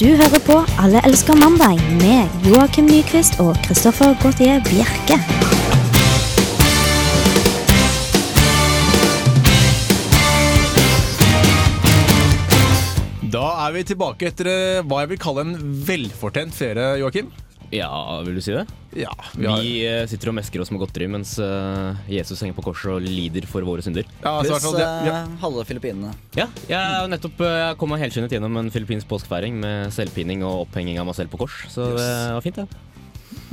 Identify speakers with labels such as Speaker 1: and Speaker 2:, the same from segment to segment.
Speaker 1: Du hører på Alle elsker mandag med Joakim Nyquist og Christoffer Gautier Bjerke.
Speaker 2: Da er vi tilbake etter eh, hva jeg vil kalle en velfortjent ferie, Joakim.
Speaker 3: Ja, vil du si det?
Speaker 2: Ja,
Speaker 3: Vi,
Speaker 2: vi har,
Speaker 3: eh, sitter og mesker oss med godteri mens eh, Jesus henger på korset og lider for våre synder.
Speaker 2: ja, så Altså, i hvert
Speaker 4: Pluss
Speaker 2: fall, det- ja,
Speaker 4: eh, halve Filippinene.
Speaker 3: Ja, jeg er jo nettopp eh, jeg kom meg helskinnet gjennom en filippinsk påskefeiring med selvpining og opphenging av meg selv på kors, så det var fint, det.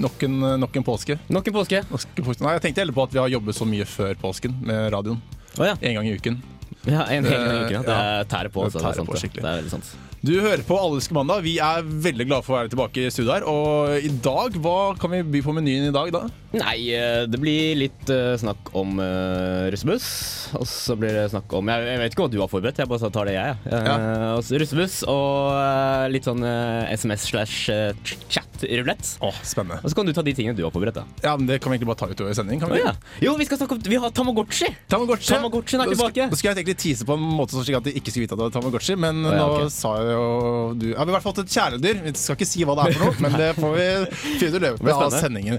Speaker 2: nok, en, nok en påske.
Speaker 3: Ja. Nok en påske. Å
Speaker 2: Nok en påske. Nei, jeg tenkte heller på at vi har jobbet så mye før påsken med radioen.
Speaker 3: ja.
Speaker 2: En gang i uken.
Speaker 3: ja. En hel gang i uken. ja. Det
Speaker 2: Ja.
Speaker 3: er tærer på,
Speaker 2: Det
Speaker 3: altså.
Speaker 2: tærer
Speaker 3: Det er, sant,
Speaker 2: på
Speaker 3: det.
Speaker 2: skikkelig.
Speaker 3: det er veldig sant.
Speaker 2: Du hører på Alle elsker mandag. Vi er veldig glade for å være tilbake i studio her. Og i dag, hva kan vi by på menyen i dag, da?
Speaker 3: Nei, eh, det blir litt eh, snakk om eh, russebuss. Og så blir det snakk om Jeg, jeg vet ikke hva du har forberedt, jeg bare tar det jeg, jeg. Eh, og så Russebuss og eh, litt sånn eh, SMS slash eh, chat-rulett.
Speaker 2: Å, spennende.
Speaker 3: Og så kan du ta de tingene du har forberedt. da
Speaker 2: Ja, men Det kan vi egentlig bare ta utover i sendingen. kan vi
Speaker 3: Å ja.
Speaker 2: ikke?
Speaker 3: Jo, vi skal snakke om Vi har Tamagotchi!
Speaker 2: Tamagotchi.
Speaker 3: Tamagotchien er
Speaker 2: Da sk-
Speaker 3: tilbake.
Speaker 2: Da skulle jeg egentlig tise på en måte sånn slik at de ikke skulle vite at det var Tamagotchi, men
Speaker 3: Å, ja,
Speaker 2: nå
Speaker 3: ok.
Speaker 2: sa jeg jo du Ja, vi har i hvert fall fått et kjæledyr. Vi skal ikke si hva det er for noe, men det får vi finne ut i løpet
Speaker 3: blir
Speaker 2: av
Speaker 3: spennende.
Speaker 2: sendingen.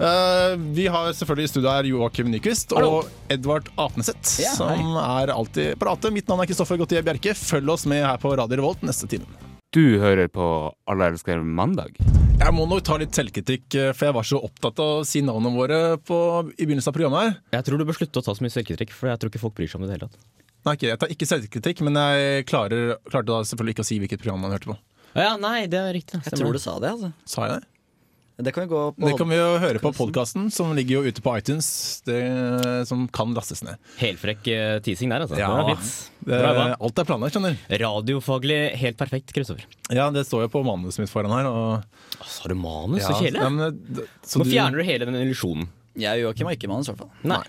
Speaker 2: Eh, vi har selvfølgelig i studio her Joakim Nyquist
Speaker 3: Hallo.
Speaker 2: og Edvard Apneseth,
Speaker 3: Ja, hei.
Speaker 2: som er alltid parate. Mitt navn er Kristoffer Gautier Bjerke. Følg oss med her på Radio Revolt neste time.
Speaker 5: Du hører på Alle elsker mandag.
Speaker 2: Jeg må nok ta litt selvkritikk, eh, for jeg var så opptatt av å si navnene våre på, i begynnelsen av programmet her.
Speaker 3: Jeg tror du bør slutte å ta så mye selvkritikk, for jeg tror ikke folk bryr seg om det i det hele tatt.
Speaker 2: Nei, ikke, jeg tar ikke selvkritikk, men jeg klarer, klarte da selvfølgelig ikke å si hvilket program man hørte på.
Speaker 3: Å Ja, nei, det er riktig.
Speaker 4: Jeg tror du sa det, altså.
Speaker 2: Sa jeg det?
Speaker 4: Det kan vi gå på.
Speaker 2: Det kan vi jo høre på podkasten, som ligger jo ute på iTunes. Det, som kan lastes ned.
Speaker 3: Helfrekk eh, teasing der, altså.
Speaker 2: Ja.
Speaker 3: Det var vits.
Speaker 2: Det,
Speaker 3: Bra jobba.
Speaker 2: alt er planlagt, skjønner du.
Speaker 3: Radiofaglig helt perfekt, Kristoffer.
Speaker 2: Ja, det står jo på manuset mitt foran her. Og,
Speaker 3: Sa du manus?
Speaker 2: ja,
Speaker 3: Så kjedelig.
Speaker 2: ja, men det- så
Speaker 3: Nå
Speaker 2: du-
Speaker 3: fjerner du hele den illusjonen.
Speaker 4: Jeg og Joakim har ikke manus, i hvert fall.
Speaker 3: Nei.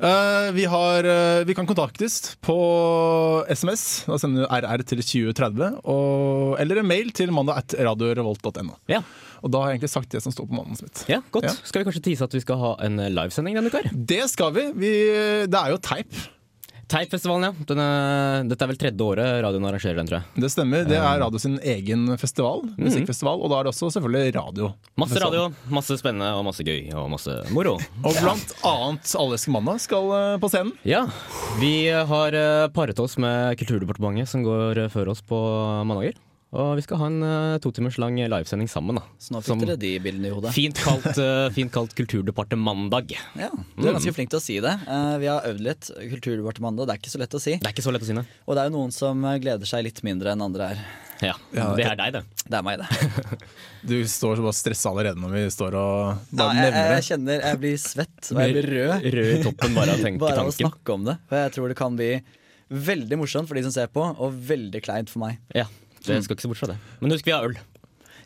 Speaker 2: Eh, vi, har, eh, vi kan kontaktes på SMS. Da sender du RR til 2030. Og, eller en mail til mandag at radiorevolt.no.
Speaker 3: Ja.
Speaker 2: Og da har jeg egentlig sagt det som står på manuset mitt.
Speaker 3: ja, godt.
Speaker 2: Ja.
Speaker 3: Skal vi kanskje tease at vi skal ha en eh, livesending denne uka? her?
Speaker 2: Det skal vi. vi. Det er jo teip.
Speaker 3: Teipfestivalen, ja. Den er, dette er vel tredje året radioen arrangerer den, tror jeg.
Speaker 2: Det stemmer. Det
Speaker 4: Eh.
Speaker 2: er radio sin egen festival, musikkfestival. Og da er det også selvfølgelig radio.
Speaker 3: Masse radio, masse spennende og masse gøy og masse moro.
Speaker 2: Og blant annet Alle elsker mandag skal eh, på scenen.
Speaker 3: Ja, vi har eh, paret oss med Kulturdepartementet som går eh, før oss på mandager. Og vi skal ha en eh, to timers lang livesending sammen. da
Speaker 4: Så nå fikk
Speaker 3: Som
Speaker 4: dere de bildene i hodet.
Speaker 3: Fint kalt, eh, fint kalt Kulturdepartemandag. Det
Speaker 4: Ja, Du er ganske flink til å si det. Eh, Vi har øvd litt. Kulturdepartementet, det er ikke så lett å si.
Speaker 3: er ikke så lett å si, nei.
Speaker 4: Og det er jo noen som eh, gleder seg litt mindre enn andre her.
Speaker 3: Ja, det er deg, det.
Speaker 4: Det er meg, det.
Speaker 2: Du står så bare stressa allerede når vi står og
Speaker 4: Ja,
Speaker 2: bare
Speaker 4: jeg,
Speaker 2: nevner
Speaker 4: jeg
Speaker 2: det.
Speaker 4: kjenner jeg blir svett, og jeg blir rød.
Speaker 3: Rød i toppen bare av tenke
Speaker 4: Bare av å
Speaker 3: tanken.
Speaker 4: snakke om det. Og jeg tror det kan bli veldig morsomt for de som ser på, og veldig kleint for meg.
Speaker 3: Ja, det skal ikke se bort fra det. Men husk, vi har øl.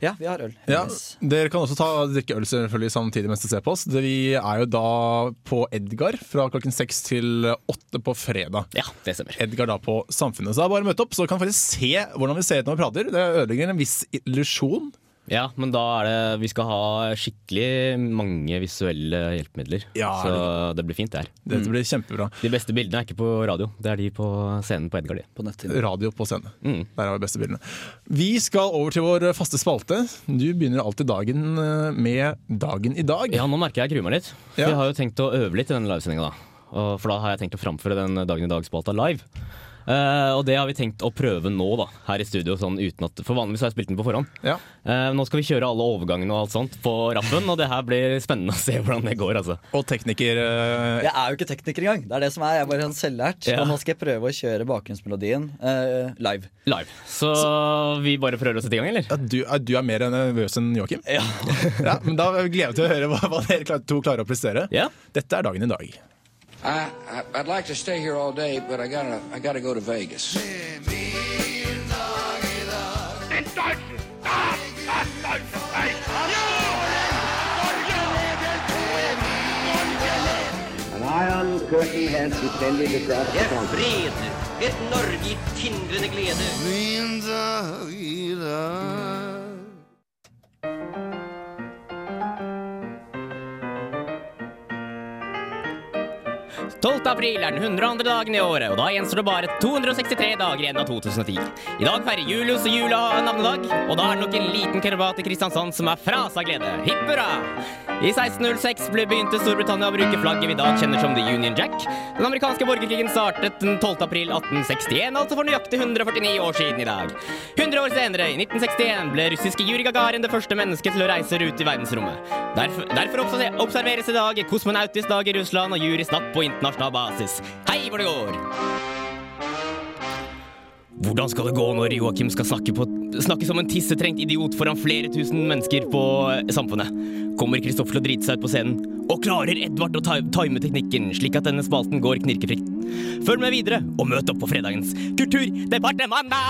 Speaker 4: Ja, vi har øl.
Speaker 2: Ja,
Speaker 4: Yes.
Speaker 2: dere kan også ta, drikke øl selvfølgelig samtidig mens dere ser på oss. Det- Vi er jo da på Edgar fra klokken seks til åtte på fredag.
Speaker 3: Ja, det stemmer.
Speaker 2: Edgar da på Samfunnet. Så det er bare å møte opp, så kan dere faktisk se hvordan vi ser ut når vi prater. Det ødelegger en viss illusjon.
Speaker 3: Ja, Men da er det Vi skal ha skikkelig mange visuelle hjelpemidler.
Speaker 2: Ja,
Speaker 3: så det blir fint, det her.
Speaker 4: Mm.
Speaker 2: Dette blir kjempebra.
Speaker 3: De beste bildene er ikke på radio. Det er de på scenen på Edgar. de.
Speaker 4: På netthinnen.
Speaker 2: Radio på scenen.
Speaker 3: Mm.
Speaker 2: Der har vi beste bildene. Vi skal over til vår faste spalte. Du begynner alltid dagen eh, med Dagen i dag.
Speaker 3: Ja, nå merker jeg jeg gruer meg litt. For
Speaker 2: Ja.
Speaker 3: Jeg har jo tenkt å øve litt i denne livesendinga, da. Og- For da har jeg tenkt å framføre den Dagen i dag-spalta live. Eh, og det har vi tenkt å prøve nå, da, her i studio. Sånn uten at, for vanligvis har jeg spilt den på forhånd.
Speaker 2: Ja.
Speaker 3: Eh, nå skal vi kjøre alle overgangene og alt sånt på rappen, og det her blir spennende å se hvordan det går, altså.
Speaker 2: Og tekniker eh,
Speaker 4: Jeg er jo ikke tekniker engang. Det er det som er. Jeg er bare en selvlært.
Speaker 3: Ja.
Speaker 4: Og nå skal jeg prøve å kjøre bakgrunnsmelodien eh, live.
Speaker 3: Live. Så, vi bare prøver å sette i gang, eller?
Speaker 2: ja, du, er, du er mer nervøs enn Joakim? Ja. men da gleder jeg meg til å høre hva, hva dere klar- to klarer å prestere.
Speaker 3: Ja.
Speaker 2: Dette er dagen i dag.
Speaker 6: I, I I'd like to stay here all day, but I gotta I gotta go to Vegas.
Speaker 7: An iron curtain has descended across the country.
Speaker 8: fred, et Norge i tindrende glede.
Speaker 3: Tolv april er den 102. dagen i året, og da gjenstår det bare 263 dager igjen av 2010. I dag feirer Julius og Jula navnedag, og da er det nok en liten kerabat i Kristiansand som er fra seg av glede. Hipp hurra! I 1606 ble begynte Storbritannia å bruke flagget vi i dag kjenner som The Union Jack. Den amerikanske borgerkrigen startet den 12. april 1861, altså for nøyaktig 149 år siden i dag. 100 år senere, i 1961, ble russiske Juri Gagarin det første mennesket til å reise ut i verdensrommet. Derfor, derfor observer- observeres i dag kosmonautisk dag i Russland og Juris natt på internasjonal basis. Hei hvor det går! Hvordan skal det gå når Joakim skal snakke, på, snakke som en tissetrengt idiot foran flere tusen mennesker på eh, Samfunnet? Kommer Kristoffer til å drite seg ut på scenen? Og klarer Edvard å ti- time teknikken, slik at denne spalten går knirkefritt? Følg med videre, og møt opp på fredagens Kulturdepartementet!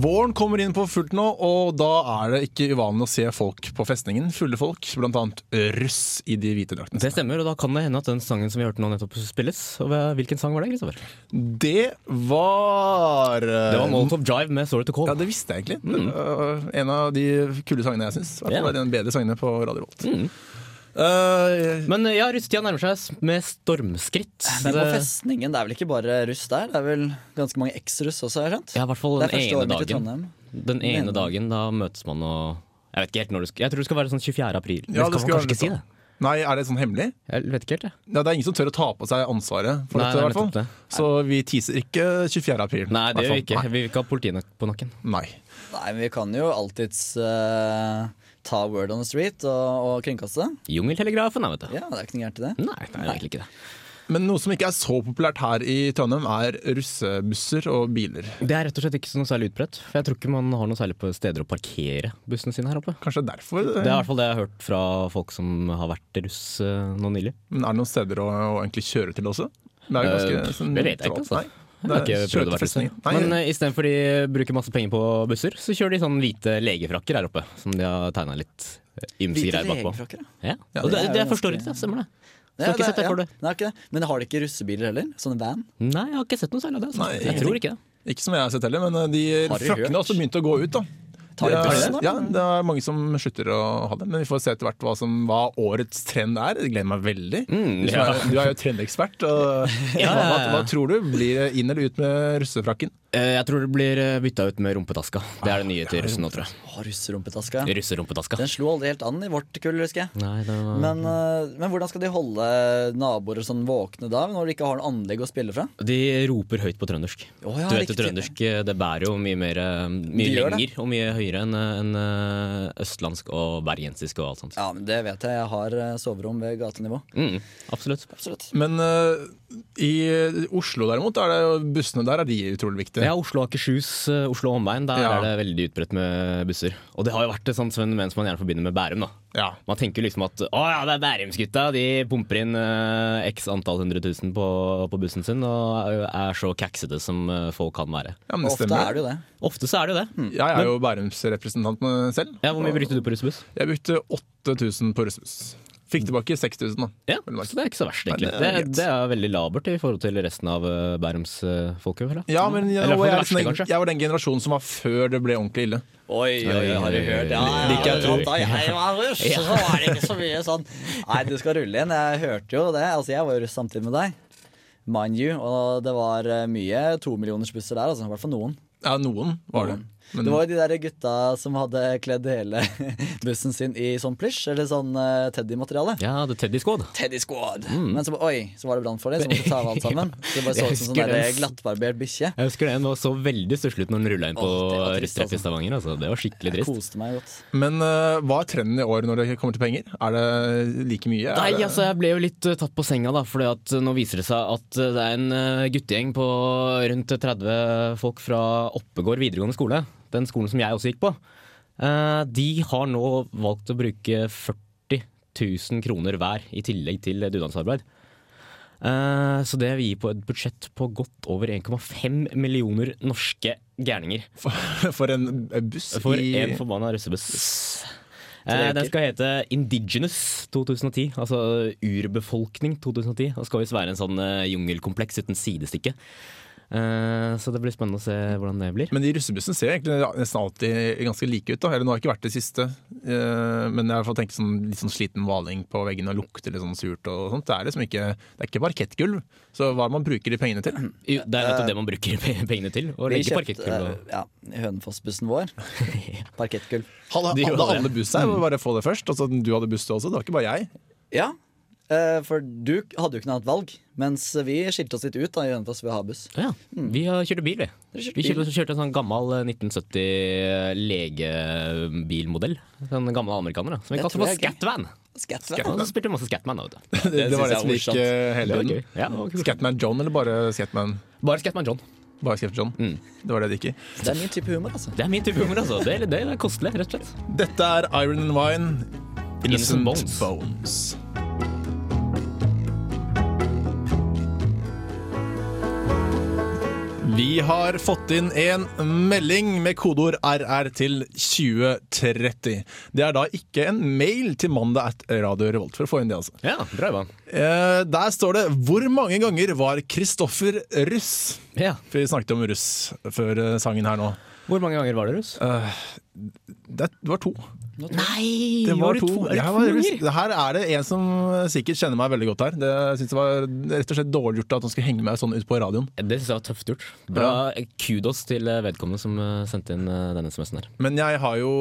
Speaker 2: Våren kommer inn på fullt nå, og da er det ikke uvanlig å se folk på festningen. Fulle folk, blant annet russ i de hvite draktene.
Speaker 3: Det stemmer, og da kan det hende at den sangen som vi hørte nå nettopp spilles. Og hvilken sang var det, Kristoffer?
Speaker 2: Det var eh,
Speaker 3: Det var Molotov Jive med Story to Call.
Speaker 2: Ja, det visste jeg egentlig. Uh, en av de kule sangene jeg syns.
Speaker 3: Mm. Ja. Mm.
Speaker 2: Yeah. Det er en bedre sangene på Radio Volt. Eh, Uh,
Speaker 3: Men eh, ja, russetida nærmer seg s- med stormskritt.
Speaker 4: Men på
Speaker 3: Det-
Speaker 4: festningen, det er vel ikke bare russ der? Det er vel ganske mange eks-russ også, har jeg skjønt?
Speaker 3: Ja, i hvert fall
Speaker 4: det
Speaker 3: den
Speaker 4: er første
Speaker 3: ene
Speaker 4: året mitt i
Speaker 3: dagen.
Speaker 4: Trondheim.
Speaker 3: Den ene
Speaker 4: Men-
Speaker 3: dagen, da møtes man og Jeg vet ikke helt når det skal Jeg tror det skal være sånn 24. april. Men
Speaker 2: Ja,
Speaker 3: skal
Speaker 2: det
Speaker 3: man
Speaker 2: skal
Speaker 3: kanskje ikke si
Speaker 2: være
Speaker 3: det?
Speaker 2: litt Nei, er det sånn hemmelig?
Speaker 3: Jeg vet ikke helt, jeg.
Speaker 2: Ja, det er ingen som tør å ta på seg ansvaret for
Speaker 3: Nei,
Speaker 2: dette. i
Speaker 3: det er
Speaker 2: hvert
Speaker 3: nettopp det.
Speaker 2: fall. Så vi teaser ikke 24. april.
Speaker 3: Nei, det
Speaker 2: i hvert
Speaker 3: gjør vi
Speaker 2: fall.
Speaker 3: ikke. Vi vil ikke ha politiet nok- på nakken.
Speaker 2: Nei.
Speaker 4: Nei, men vi kan jo alltids eh, ta Word on the Street og, og kringkaste.
Speaker 3: Jungeltelegrafen, da, vet du.
Speaker 4: Ja, det er ikke noe gærent i det.
Speaker 3: Nei, det er jo egentlig ikke det.
Speaker 2: Men noe som ikke er så populært her i Trondheim, er russebusser og biler.
Speaker 3: Det er rett og slett ikke så noe særlig utbredt. For jeg tror ikke man har noe særlig på steder å parkere bussene sine her oppe.
Speaker 2: Kanskje derfor. eh,
Speaker 3: Det er i hvert fall det jeg har hørt fra folk som har vært russ eh, nå nylig.
Speaker 2: Men er det noen steder å, å egentlig kjøre til også? Det er jo
Speaker 3: Eh,
Speaker 2: ganske sånn
Speaker 3: det vet jeg ikke,
Speaker 2: trått.
Speaker 3: altså.
Speaker 2: Nei.
Speaker 3: Jeg har
Speaker 2: Det er
Speaker 3: ikke prøvd å være russ.
Speaker 2: kjøretefestningen. Nei,
Speaker 3: Men eh, istedenfor de bruker masse penger på busser, så kjører de sånn hvite legefrakker her oppe. Som de har tegna litt eh, ymse
Speaker 4: Hvite
Speaker 3: greier bakpå.
Speaker 4: legefrakker, da.
Speaker 3: Ja.
Speaker 2: Ja,
Speaker 3: og
Speaker 4: det
Speaker 3: det,
Speaker 4: er
Speaker 3: det
Speaker 4: jo
Speaker 3: forstår
Speaker 4: ganske-
Speaker 3: ikke, det. Stemmer det.
Speaker 4: Ja,
Speaker 3: Skal ikke sette
Speaker 4: det-
Speaker 3: for det.
Speaker 4: ja. Nei, ikke det. Men har de ikke russebiler heller? Sånne van?
Speaker 3: Nei, jeg har ikke sett noe særlig av det. altså.
Speaker 2: Nei,
Speaker 3: jeg tror ikke det.
Speaker 2: Ikke som jeg har sett heller, men eh, de
Speaker 4: Har du
Speaker 2: frakkene
Speaker 4: hørt?
Speaker 2: har også begynt å gå ut. da
Speaker 4: Tar de
Speaker 2: Det er-
Speaker 4: bussen, da?
Speaker 2: ja, det er mange som slutter å ha det, men vi får se etter hvert hva, som, hva årets trend er. Det gleder meg veldig.
Speaker 3: Mm,
Speaker 2: du, som
Speaker 3: ja.
Speaker 2: er, du er jo trendekspert. Og,
Speaker 3: Ja,
Speaker 2: hva,
Speaker 3: ja, ja.
Speaker 2: hva tror du? Blir det inn eller ut med russefrakken?
Speaker 3: Eh, Jeg tror det blir eh, bytta ut med rumpetaska. Det er det nye til russen nå, tror jeg.
Speaker 4: Å, russerumpetaska.
Speaker 3: Russerumpetaska.
Speaker 4: Den slo aldri helt an i vårt kull, husker jeg.
Speaker 3: Nei, det var...
Speaker 4: Men, eh, men hvordan skal de holde naboer og sånn våkne da, når de ikke har noe anlegg å spille fra?
Speaker 3: De roper høyt på trøndersk.
Speaker 4: Å, ja,
Speaker 3: du vet jo
Speaker 4: riktig.
Speaker 3: trøndersk eh, det bærer jo mye, mer, eh, mye
Speaker 4: De gjør det.
Speaker 3: lenger og mye høyere enn eh, enn, eh, østlandsk og bergensisk og alt sånt.
Speaker 4: Ja, men Det vet jeg. Jeg har eh, soverom ved gatenivå.
Speaker 3: Mm, absolutt.
Speaker 4: Absolutt.
Speaker 2: Men eh, i Oslo derimot, er det jo, bussene der er de utrolig viktige.
Speaker 3: Ja, Oslo og Akershus, eh, Oslo og omegn, der
Speaker 2: Ja.
Speaker 3: er det veldig utbredt med busser. Og det har jo vært et sånt fenomen som man gjerne forbinder med Bærum. da.
Speaker 2: Ja.
Speaker 3: Man tenker liksom at å ja, det er Bærumsgutta, de pumper inn eh, x antall hundre tusen på, på bussen sin og er så kaksete som eh, folk kan være.
Speaker 2: Ja, Mm. men det
Speaker 4: Ofte er
Speaker 2: stemmer.
Speaker 4: det jo det.
Speaker 3: Ofte så er det jo det.
Speaker 2: Jeg er jo Bærums-representant med- selv.
Speaker 3: Ja, Hvor mye brukte du på russebuss?
Speaker 2: Jeg brukte 8000 på russbuss. Fikk tilbake 6000, da.
Speaker 3: Ja,
Speaker 2: Vel merket.
Speaker 3: så det er ikke så verst,
Speaker 2: Nei,
Speaker 3: egentlig.
Speaker 2: det er
Speaker 3: Det, er-
Speaker 2: greit.
Speaker 3: det er veldig labert i forhold til resten av eh, Bærums eh, folk. føler jeg.
Speaker 2: Ja, men jeg,
Speaker 3: Eller
Speaker 2: og jeg, er
Speaker 3: for det verste,
Speaker 2: sånn-
Speaker 3: kanskje.
Speaker 2: jeg var den generasjonen som var før det ble ordentlig ille.
Speaker 4: Oi, oi, har du hørt? Ja, ja,
Speaker 3: Liker jeg
Speaker 4: ja,
Speaker 3: tror.
Speaker 4: da jeg var russ, så var det ikke så mye sånn. Nei, du skal rulle inn. Jeg hørte jo det. Altså, Jeg var jo russ samtidig med deg. Mind you. Og det var eh, mye tomillionersbusser der, altså. I hvert fall noen.
Speaker 2: Ja, noen var det. Men
Speaker 4: Det var jo de der gutta som hadde kledd hele bussen sin i sånn plysj, eller sånn eh, Teddy-materiale.
Speaker 3: Ja, The Teddy Squad.
Speaker 4: Teddy Squad. Men så, oi, så var det brann for dem, så måtte de ta av alt sammen. Så det bare så
Speaker 3: Mm. Jeg
Speaker 4: ut som
Speaker 3: husker
Speaker 4: sånn der
Speaker 3: den.
Speaker 4: glattbarbert bikkje.
Speaker 3: Jeg husker den var så veldig stusslig ut når den rulla inn på
Speaker 4: Åh, det var trist,
Speaker 3: russetreff i
Speaker 4: altså.
Speaker 3: Stavanger. Altså. Det var skikkelig
Speaker 4: Jeg
Speaker 3: trist.
Speaker 4: koste meg godt.
Speaker 2: Men øh, hva er trenden i år når det kommer til penger? Er det like mye? Er
Speaker 3: Nei,
Speaker 2: det-
Speaker 3: altså jeg ble jo litt eh, tatt på senga da, fordi at eh, nå viser det seg at eh, det er en eh, guttegjeng på rundt 30 folk fra Oppegård videregående skole, den skolen som jeg også gikk på. Eh, De har nå valgt å bruke 40 000 kroner hver i tillegg til dugnadsarbeid. Eh, Så det vil gi på et budsjett på godt over 1,5 millioner norske gærninger.
Speaker 2: for, for en buss
Speaker 3: For
Speaker 2: i
Speaker 3: en forbanna russebuss. Eh, den skal hete Indigenous 2010, altså urbefolkning 2010. Og skal visst være en sånn eh, jungelkompleks uten sidestykke. Eh, så det blir spennende å se hvordan det blir.
Speaker 2: Men de russebussene ser jo egentlig nesten alltid ganske like ut. da Eller Nå har jeg ikke vært det siste, eh, men jeg har fått tenke sånn, litt sånn sliten maling på veggene og lukter litt sånn surt. og sånt Det er liksom ikke Det er ikke parkettgulv, så hva er det man bruker de pengene til?
Speaker 3: Jo, det er nettopp det man bruker pe- pengene til. Å legge parkettgulv og
Speaker 4: eh, ja, Hønefoss-bussen vår. Parkettgulv.
Speaker 2: Hadde,
Speaker 3: De gjorde
Speaker 2: hadde
Speaker 3: det.
Speaker 2: alle buss her? Bare få det først. Altså, du hadde buss du også, det var ikke bare jeg.
Speaker 4: Ja, eh, for du hadde jo ikke noe annet valg. Mens vi skilte oss litt ut da, i Hønefoss ved å ha buss.
Speaker 3: ja, vi har- kjørte bil, vi.
Speaker 4: Hmm. Dere kjørte
Speaker 3: Vi
Speaker 4: bil.
Speaker 3: kjørte, kjørte en sånn gammel eh, 1970 legebilmodell. Sånn gammel amerikaner, da. Som vi
Speaker 4: Det
Speaker 3: kalte
Speaker 4: tror
Speaker 3: for
Speaker 4: jeg er gøy.
Speaker 3: Scatvan.
Speaker 4: Skattevenn.
Speaker 3: Og så spilte vi masse Scatman, da, vet du.
Speaker 2: Det, det,
Speaker 4: synes
Speaker 2: var det
Speaker 4: jeg
Speaker 2: som
Speaker 4: er
Speaker 2: gikk eh,
Speaker 3: Det
Speaker 2: hele
Speaker 3: var gøy.
Speaker 2: tiden.
Speaker 3: Ja, det var kult.
Speaker 2: Scatman John eller bare Scatman?
Speaker 3: Bare Scatman John.
Speaker 2: Bare Scatman John.
Speaker 3: Mm.
Speaker 2: Det var det det gikk i.
Speaker 4: Det er min type humor, altså.
Speaker 3: Det er min type humor, altså. Det, det er kostelig, rett og slett.
Speaker 2: Dette er Iron and Wine, Innocent
Speaker 3: Innocent
Speaker 2: Bones.
Speaker 3: Bones.
Speaker 2: Vi har fått inn en melding med kodeord RR til 2030. Det er da ikke en mail til mandag at Radio Revolt, for å få inn det, altså.
Speaker 3: Ja, bra jobba.
Speaker 2: Eh, der står det 'Hvor mange ganger var Kristoffer russ?'
Speaker 3: Ja.
Speaker 2: For vi snakket om russ før eh, sangen her nå.
Speaker 3: Hvor mange ganger var det, Russ?
Speaker 2: Det var to.
Speaker 3: Nei!
Speaker 2: Det var to.
Speaker 3: Er det
Speaker 2: Jeg
Speaker 3: to
Speaker 2: var,
Speaker 3: ganger?
Speaker 2: det her er det en som sikkert kjenner meg veldig godt her. Det, jeg synes det var rett og slett dårlig gjort at han skulle henge meg sånn ut på radioen.
Speaker 3: Det syns jeg var tøft gjort. Bra kudos til eh, vedkommende som eh, sendte inn eh, denne SMS-en her.
Speaker 2: Men jeg har jo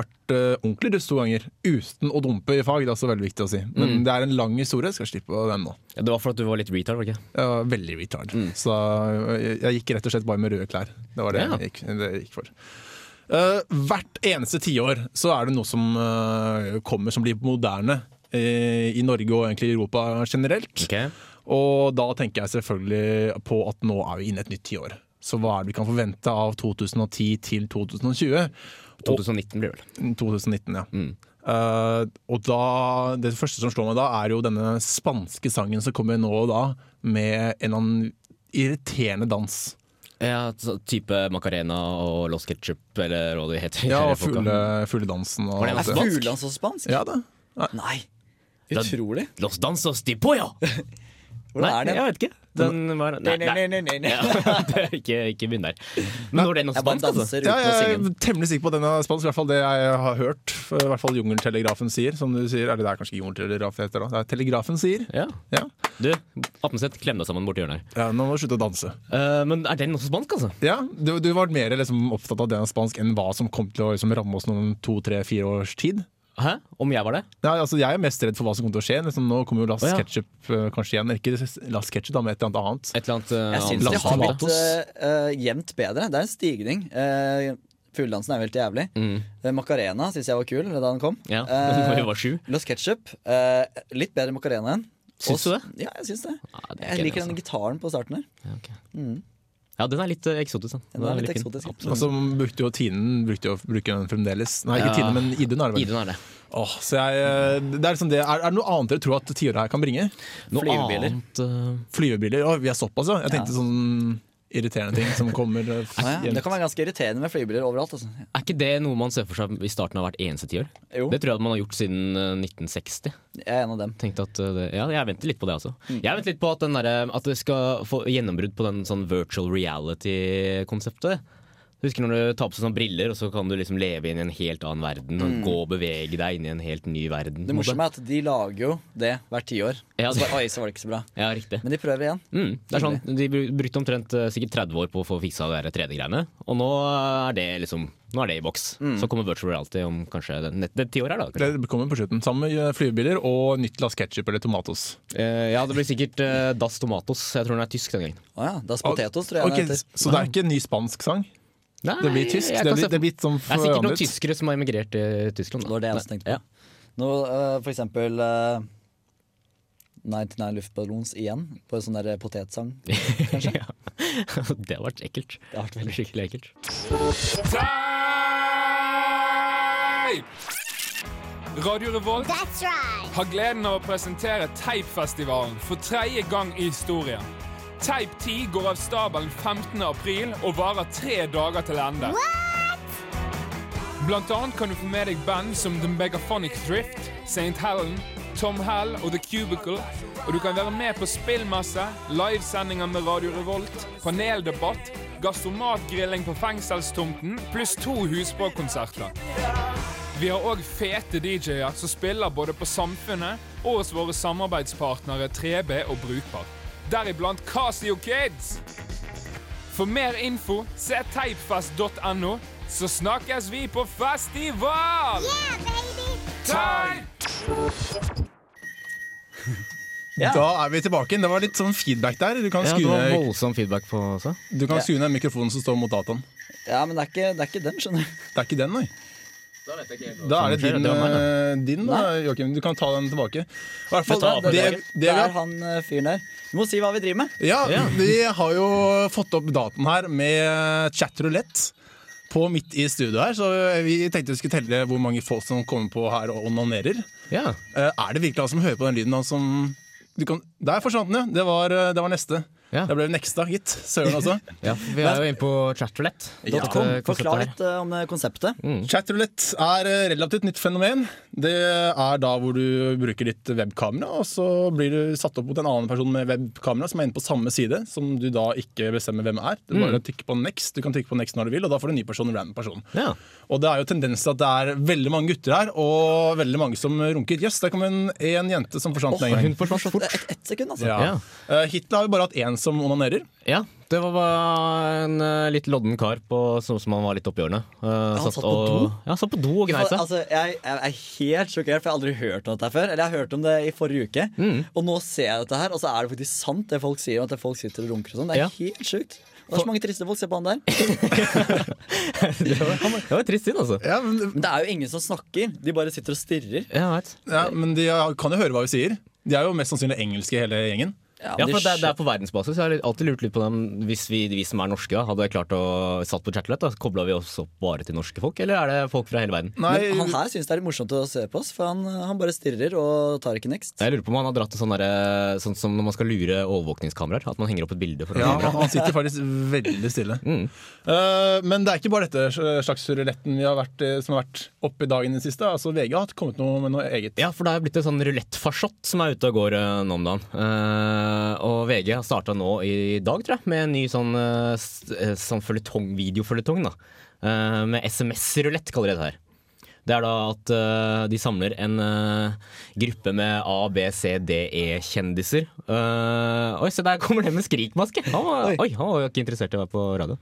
Speaker 2: vært eh, ordentlig russ to ganger. Uten å dumpe i fag, det er også veldig viktig å si. Men
Speaker 3: Mm.
Speaker 2: det er en lang historie, skal slippe den nå.
Speaker 3: Det var for at du var litt retard, var det ikke?
Speaker 2: Jeg var veldig retard.
Speaker 3: Mm.
Speaker 2: Så eh, jeg, jeg gikk rett og slett bare med røde klær. Det var det,
Speaker 3: Ja.
Speaker 2: jeg, gikk, det jeg gikk for. Eh, hvert eneste tiår så er det noe som eh, kommer som blir moderne. eh, I Norge og egentlig i Europa generelt.
Speaker 3: Ok.
Speaker 2: Og da tenker jeg selvfølgelig på at nå er vi inne i et nytt tiår. Så hva er det vi kan forvente av 2010 til 2020? Og
Speaker 3: 2019 blir det vel.
Speaker 2: 2019, ja. Eh, og da, det første som slår meg da, er jo denne spanske sangen som kommer nå og da, med en eller annen irriterende dans.
Speaker 3: Ja, så type Macarena og Los Ketchup eller hva det heter.
Speaker 2: Ja, og
Speaker 3: Eller folka.
Speaker 2: fugle, fugledansen og
Speaker 3: Var det
Speaker 2: alt
Speaker 4: Er
Speaker 2: det.
Speaker 3: spansk?
Speaker 4: Fugleland så spansk?
Speaker 2: Ja, det.
Speaker 4: Nei. Utrolig.
Speaker 3: Los dansos de pollo!
Speaker 4: Hvordan
Speaker 3: Nei,
Speaker 4: er den?
Speaker 3: Jeg vet ikke. Den var Nei, nei.
Speaker 4: Nei, nei, nei, nei.
Speaker 3: Ja, det- ikke ikke begynn der. Men når den også
Speaker 4: Jeg bare
Speaker 3: spansk, altså.
Speaker 4: danser
Speaker 2: Ja,
Speaker 4: uten å
Speaker 2: jeg
Speaker 4: synge
Speaker 2: er
Speaker 4: den.
Speaker 2: temmelig sikker på at den er spansk, i hvert fall det jeg har hørt. I hvert fall Jungeltelegrafen sier, som du sier. Eller det er kanskje ikke Jungeltelegraf det heter da. Det er Telegrafen sier.
Speaker 3: Ja.
Speaker 2: Ja.
Speaker 3: Du, Apneseth, klem deg sammen borti hjørnet her.
Speaker 2: Ja, nå må du slutte å danse.
Speaker 3: Eh, men er den også spansk, altså?
Speaker 2: Ja, Du, du var mer liksom, opptatt av det enn spansk enn hva som kom til å liksom, ramme oss noen to, tre, fire års tid.
Speaker 3: Hæ? Om jeg var det?
Speaker 2: Ja, altså, jeg er mest redd for hva som kommer til å skje. Liksom, nå kommer jo Last
Speaker 3: Å, ja.
Speaker 2: Ketchup eh, kanskje igjen. Ikke Last Ketchup, da, men et eller annet annet.
Speaker 3: Et eller annet eh,
Speaker 4: Jeg syns
Speaker 3: annet
Speaker 4: det
Speaker 2: Last
Speaker 4: har
Speaker 3: sted.
Speaker 4: blitt
Speaker 2: Tomatoes.
Speaker 4: eh, eh, jevnt bedre. Det er en stigning. Uh, Fugledansen er jo helt jævlig. Eh, Macarena syns jeg var kul da den kom.
Speaker 3: Mm. Ja,
Speaker 4: Eh,
Speaker 3: når vi var sju.
Speaker 4: Los Ketchup. eh, litt bedre Macarena enn.
Speaker 3: Syns du
Speaker 4: Og s-
Speaker 3: det?
Speaker 4: Ja, jeg syns det.
Speaker 3: Ja, det er ikke
Speaker 4: jeg liker
Speaker 3: enig,
Speaker 4: den gitaren på starten her.
Speaker 3: Ja, ok. ja, den er litt eh, eksotisk, den.
Speaker 4: Den er litt
Speaker 3: veldig fin.
Speaker 4: eksotisk.
Speaker 2: Og så brukte jo Tinen brukte jo, bruker den fremdeles. Nei, ikke
Speaker 3: Ja.
Speaker 2: Tine, men Idun er det vel.
Speaker 3: Idun er det.
Speaker 2: Åh, så jeg, eh, det er, liksom det. Er, er det noe annet dere tror at tiåret her kan bringe?
Speaker 3: Noe
Speaker 4: Flyvebiler.
Speaker 3: annet eh,
Speaker 2: Flyvebiler? Å, vi er såpass, ja. Jeg tenkte sånn irriterende ting som kommer. eh,
Speaker 4: Ah, ja.
Speaker 2: jevnt.
Speaker 4: Det kan være ganske irriterende med flybiler overalt. Altså.
Speaker 3: Er ikke det noe man ser for seg i starten av hvert eneste tiår?
Speaker 4: Jo.
Speaker 3: Det tror jeg at man har gjort siden eh, 1960.
Speaker 4: Jeg er en av dem.
Speaker 3: Tenkte at eh, det, ja, jeg venter litt på det, altså.
Speaker 2: Mm.
Speaker 3: Jeg venter litt på at, den derre- at det skal få gjennombrudd på den sånn virtual reality-konseptet. Du Husker når du tar på seg sånne briller, og så kan du liksom leve inn i en helt annen verden.
Speaker 2: Mm.
Speaker 3: Og Gå og bevege deg inn i en helt ny verden. på
Speaker 4: Det
Speaker 3: en måte.
Speaker 4: morsomme er at de lager jo det hvert tiår.
Speaker 3: Ja,
Speaker 4: Og så bare, Oi, så var det ikke så bra.
Speaker 3: Ja, riktig.
Speaker 4: Men de prøver igjen.
Speaker 3: Mm, det er sånn, De bru- brukte omtrent eh, sikkert 30 år på å få fiksa de der 3D-greiene. Og nå er det liksom Nå er det i boks. Så kommer virtual reality om kanskje det, nett- det ti år her, da. Kanskje.
Speaker 2: Mm. Det kommer på slutten. Sammen med flyvebiler og nytt Last Ketchup eller Tomatos.
Speaker 3: Eh, ja, det blir sikkert eh, Das Tomatos. Jeg tror den er tysk den gangen.
Speaker 4: Å ja. Das Potetos, tror jeg
Speaker 2: Ah, Ok,
Speaker 4: den heter.
Speaker 2: Så det er ikke en ny spansk sang?
Speaker 3: Nei,
Speaker 2: Det blir tysk?
Speaker 3: jeg
Speaker 2: Det
Speaker 3: kan se
Speaker 2: blir, det
Speaker 3: for-
Speaker 2: blir som
Speaker 3: det er sikkert noen
Speaker 2: forandret.
Speaker 3: tyskere som har emigrert eh, til Tyskland.
Speaker 4: Det var det jeg også tenkte på. Nå, eh, for eksempel eh, 99 Luftballons igjen, på en sånn der potetsang.
Speaker 3: ja. det har vært ekkelt. Det har vært Skikkelig ekkelt.
Speaker 9: Radio Revolt har gleden av å presentere Teipfestivalen for tredje gang i historien. Teip 10 går av stabelen 15. april og varer tre dager til ende. Blant annet kan du få med deg band som The Megaphonic Drift, St. Helen, Tom Hell og The Cubicle. Og du kan være med på spillmasse, livesendinger med Radio Revolt, paneldebatt, gastromatgrilling på fengselstomten, pluss to husbåkonserter. Vi har òg fete DJ-er som spiller både på Samfunnet og hos våre samarbeidspartnere 3B og Brukbar. Deriblant Casio Kids. For mer info se teipfest.no, så snakkes vi på festival! Teip!
Speaker 4: Ja.
Speaker 2: Da er vi tilbake. Det var litt sånn feedback der. Du kan
Speaker 3: Ja, det
Speaker 2: skru
Speaker 3: var
Speaker 2: ned,
Speaker 3: voldsom feedback på også.
Speaker 2: du kan skru ned mikrofonen som står mot dataen.
Speaker 4: Ja, men det er ikke, det er ikke den, skjønner du.
Speaker 2: Det er ikke den, nei. Da er det
Speaker 3: skjer,
Speaker 2: din,
Speaker 3: det var meg,
Speaker 2: eh, din da, Joakim. Du kan ta den tilbake. I hvert fall,
Speaker 4: Det,
Speaker 2: det,
Speaker 4: er-
Speaker 2: det vi
Speaker 4: det er
Speaker 2: har,
Speaker 4: han eh, fyren der. Du må si hva vi driver med.
Speaker 2: ja, vi har jo fått opp datoen her med chatroulette på midt i studio her. Så vi tenkte vi skulle telle hvor mange folk som kommer på her og onanerer.
Speaker 3: Ja.
Speaker 2: Eh, Er det virkelig han som hører på den lyden? Han som du kan, der forsvant den, ja. Det var, eh, det var neste.
Speaker 3: Ja.
Speaker 2: Det ble nexta, gitt. Søren altså. også.
Speaker 3: ja, for Vi er jo inne på chatroulette.
Speaker 2: Ja.
Speaker 4: Kom,
Speaker 3: Dette konseptet
Speaker 4: forklar
Speaker 3: her. Mm.
Speaker 4: litt eh, om eh, konseptet.
Speaker 2: Chatroulette er eh, relativt nytt fenomen. Det er da hvor du bruker ditt webkamera, og så blir du satt opp mot en annen person med webkamera som er inne på samme side, som du da ikke bestemmer hvem er. Du
Speaker 3: Mm.
Speaker 2: bare trykker på next, du kan trykke på next når du vil, og da får du en ny person, en random person.
Speaker 3: Ja.
Speaker 2: Og det er jo tendens til at det er veldig mange gutter her, og veldig mange som runker. Jøss, der kom en, en jente som forsvant med en gang.
Speaker 3: Hun forsvant fort.
Speaker 4: Ett et sekund, altså.
Speaker 2: Ja.
Speaker 3: Ja.
Speaker 2: Eh, Hitler har jo bare hatt én som onanerer.
Speaker 3: Ja, det var bare en eh, litt lodden kar på, som, som han var litt oppi årene. Eh,
Speaker 4: satt på
Speaker 3: og,
Speaker 4: do?
Speaker 3: Ja, satt på do og gnei
Speaker 4: For,
Speaker 3: seg.
Speaker 4: altså, jeg, jeg er helt sjokkert, for jeg har aldri hørt om dette før. Eller jeg har hørt om det i forrige uke.
Speaker 3: Mm.
Speaker 4: Og nå ser jeg dette her, og så er det faktisk sant, det folk sier om at folk sitter og runker og sånn. Det er
Speaker 3: Ja.
Speaker 4: helt sjukt. Og det er så mange triste folk. Se på han der.
Speaker 3: det, var, det var et trist syn, altså.
Speaker 2: Ja, men,
Speaker 4: Men det er jo ingen som snakker. De bare sitter og stirrer.
Speaker 3: Ja, jeg vet.
Speaker 2: ja, men de kan jo høre hva vi sier. De er jo mest sannsynlig engelske, hele gjengen.
Speaker 4: Ja,
Speaker 3: Ja,
Speaker 4: de
Speaker 3: for det, er- det
Speaker 4: skjø-
Speaker 3: er på verdensbasis. Jeg har alltid lurt litt på dem Hvis vi, vi som er norske, da, hadde klart å satt på chatroulette, kobla vi oss opp bare til norske folk, eller er det folk fra hele verden?
Speaker 2: Nei,
Speaker 4: Men han her syns det er litt morsomt å se på oss, for han, han bare stirrer og tar ikke next.
Speaker 3: Jeg lurer på om han har dratt en sånn derre- sånn som når man skal lure overvåkningskameraer. At man henger opp et bilde. For å
Speaker 2: Ja,
Speaker 3: lure.
Speaker 2: han sitter faktisk veldig stille.
Speaker 3: Mm.
Speaker 2: Eh, men det er ikke bare dette slags ruletten vi har vært, eh, som har vært oppe i dag i det siste. Altså, VG har kommet noe med noe eget.
Speaker 3: Ja, for det er blitt en sånn rulettfarsott som er ute og går eh, nå om dagen. Eh, og VG har starta nå i dag, tror jeg, med en ny sånn, eh, s- eh, sånn føljetong, videoføljetong. da. Eh, med SMS-rulett, kaller de det her. Det er da at eh, de samler en eh, gruppe med A, B, C, D, E-kjendiser. Eh, oi, se der kommer det med skrikmaske! Han var, oi. han var jo ikke interessert i å være på radio.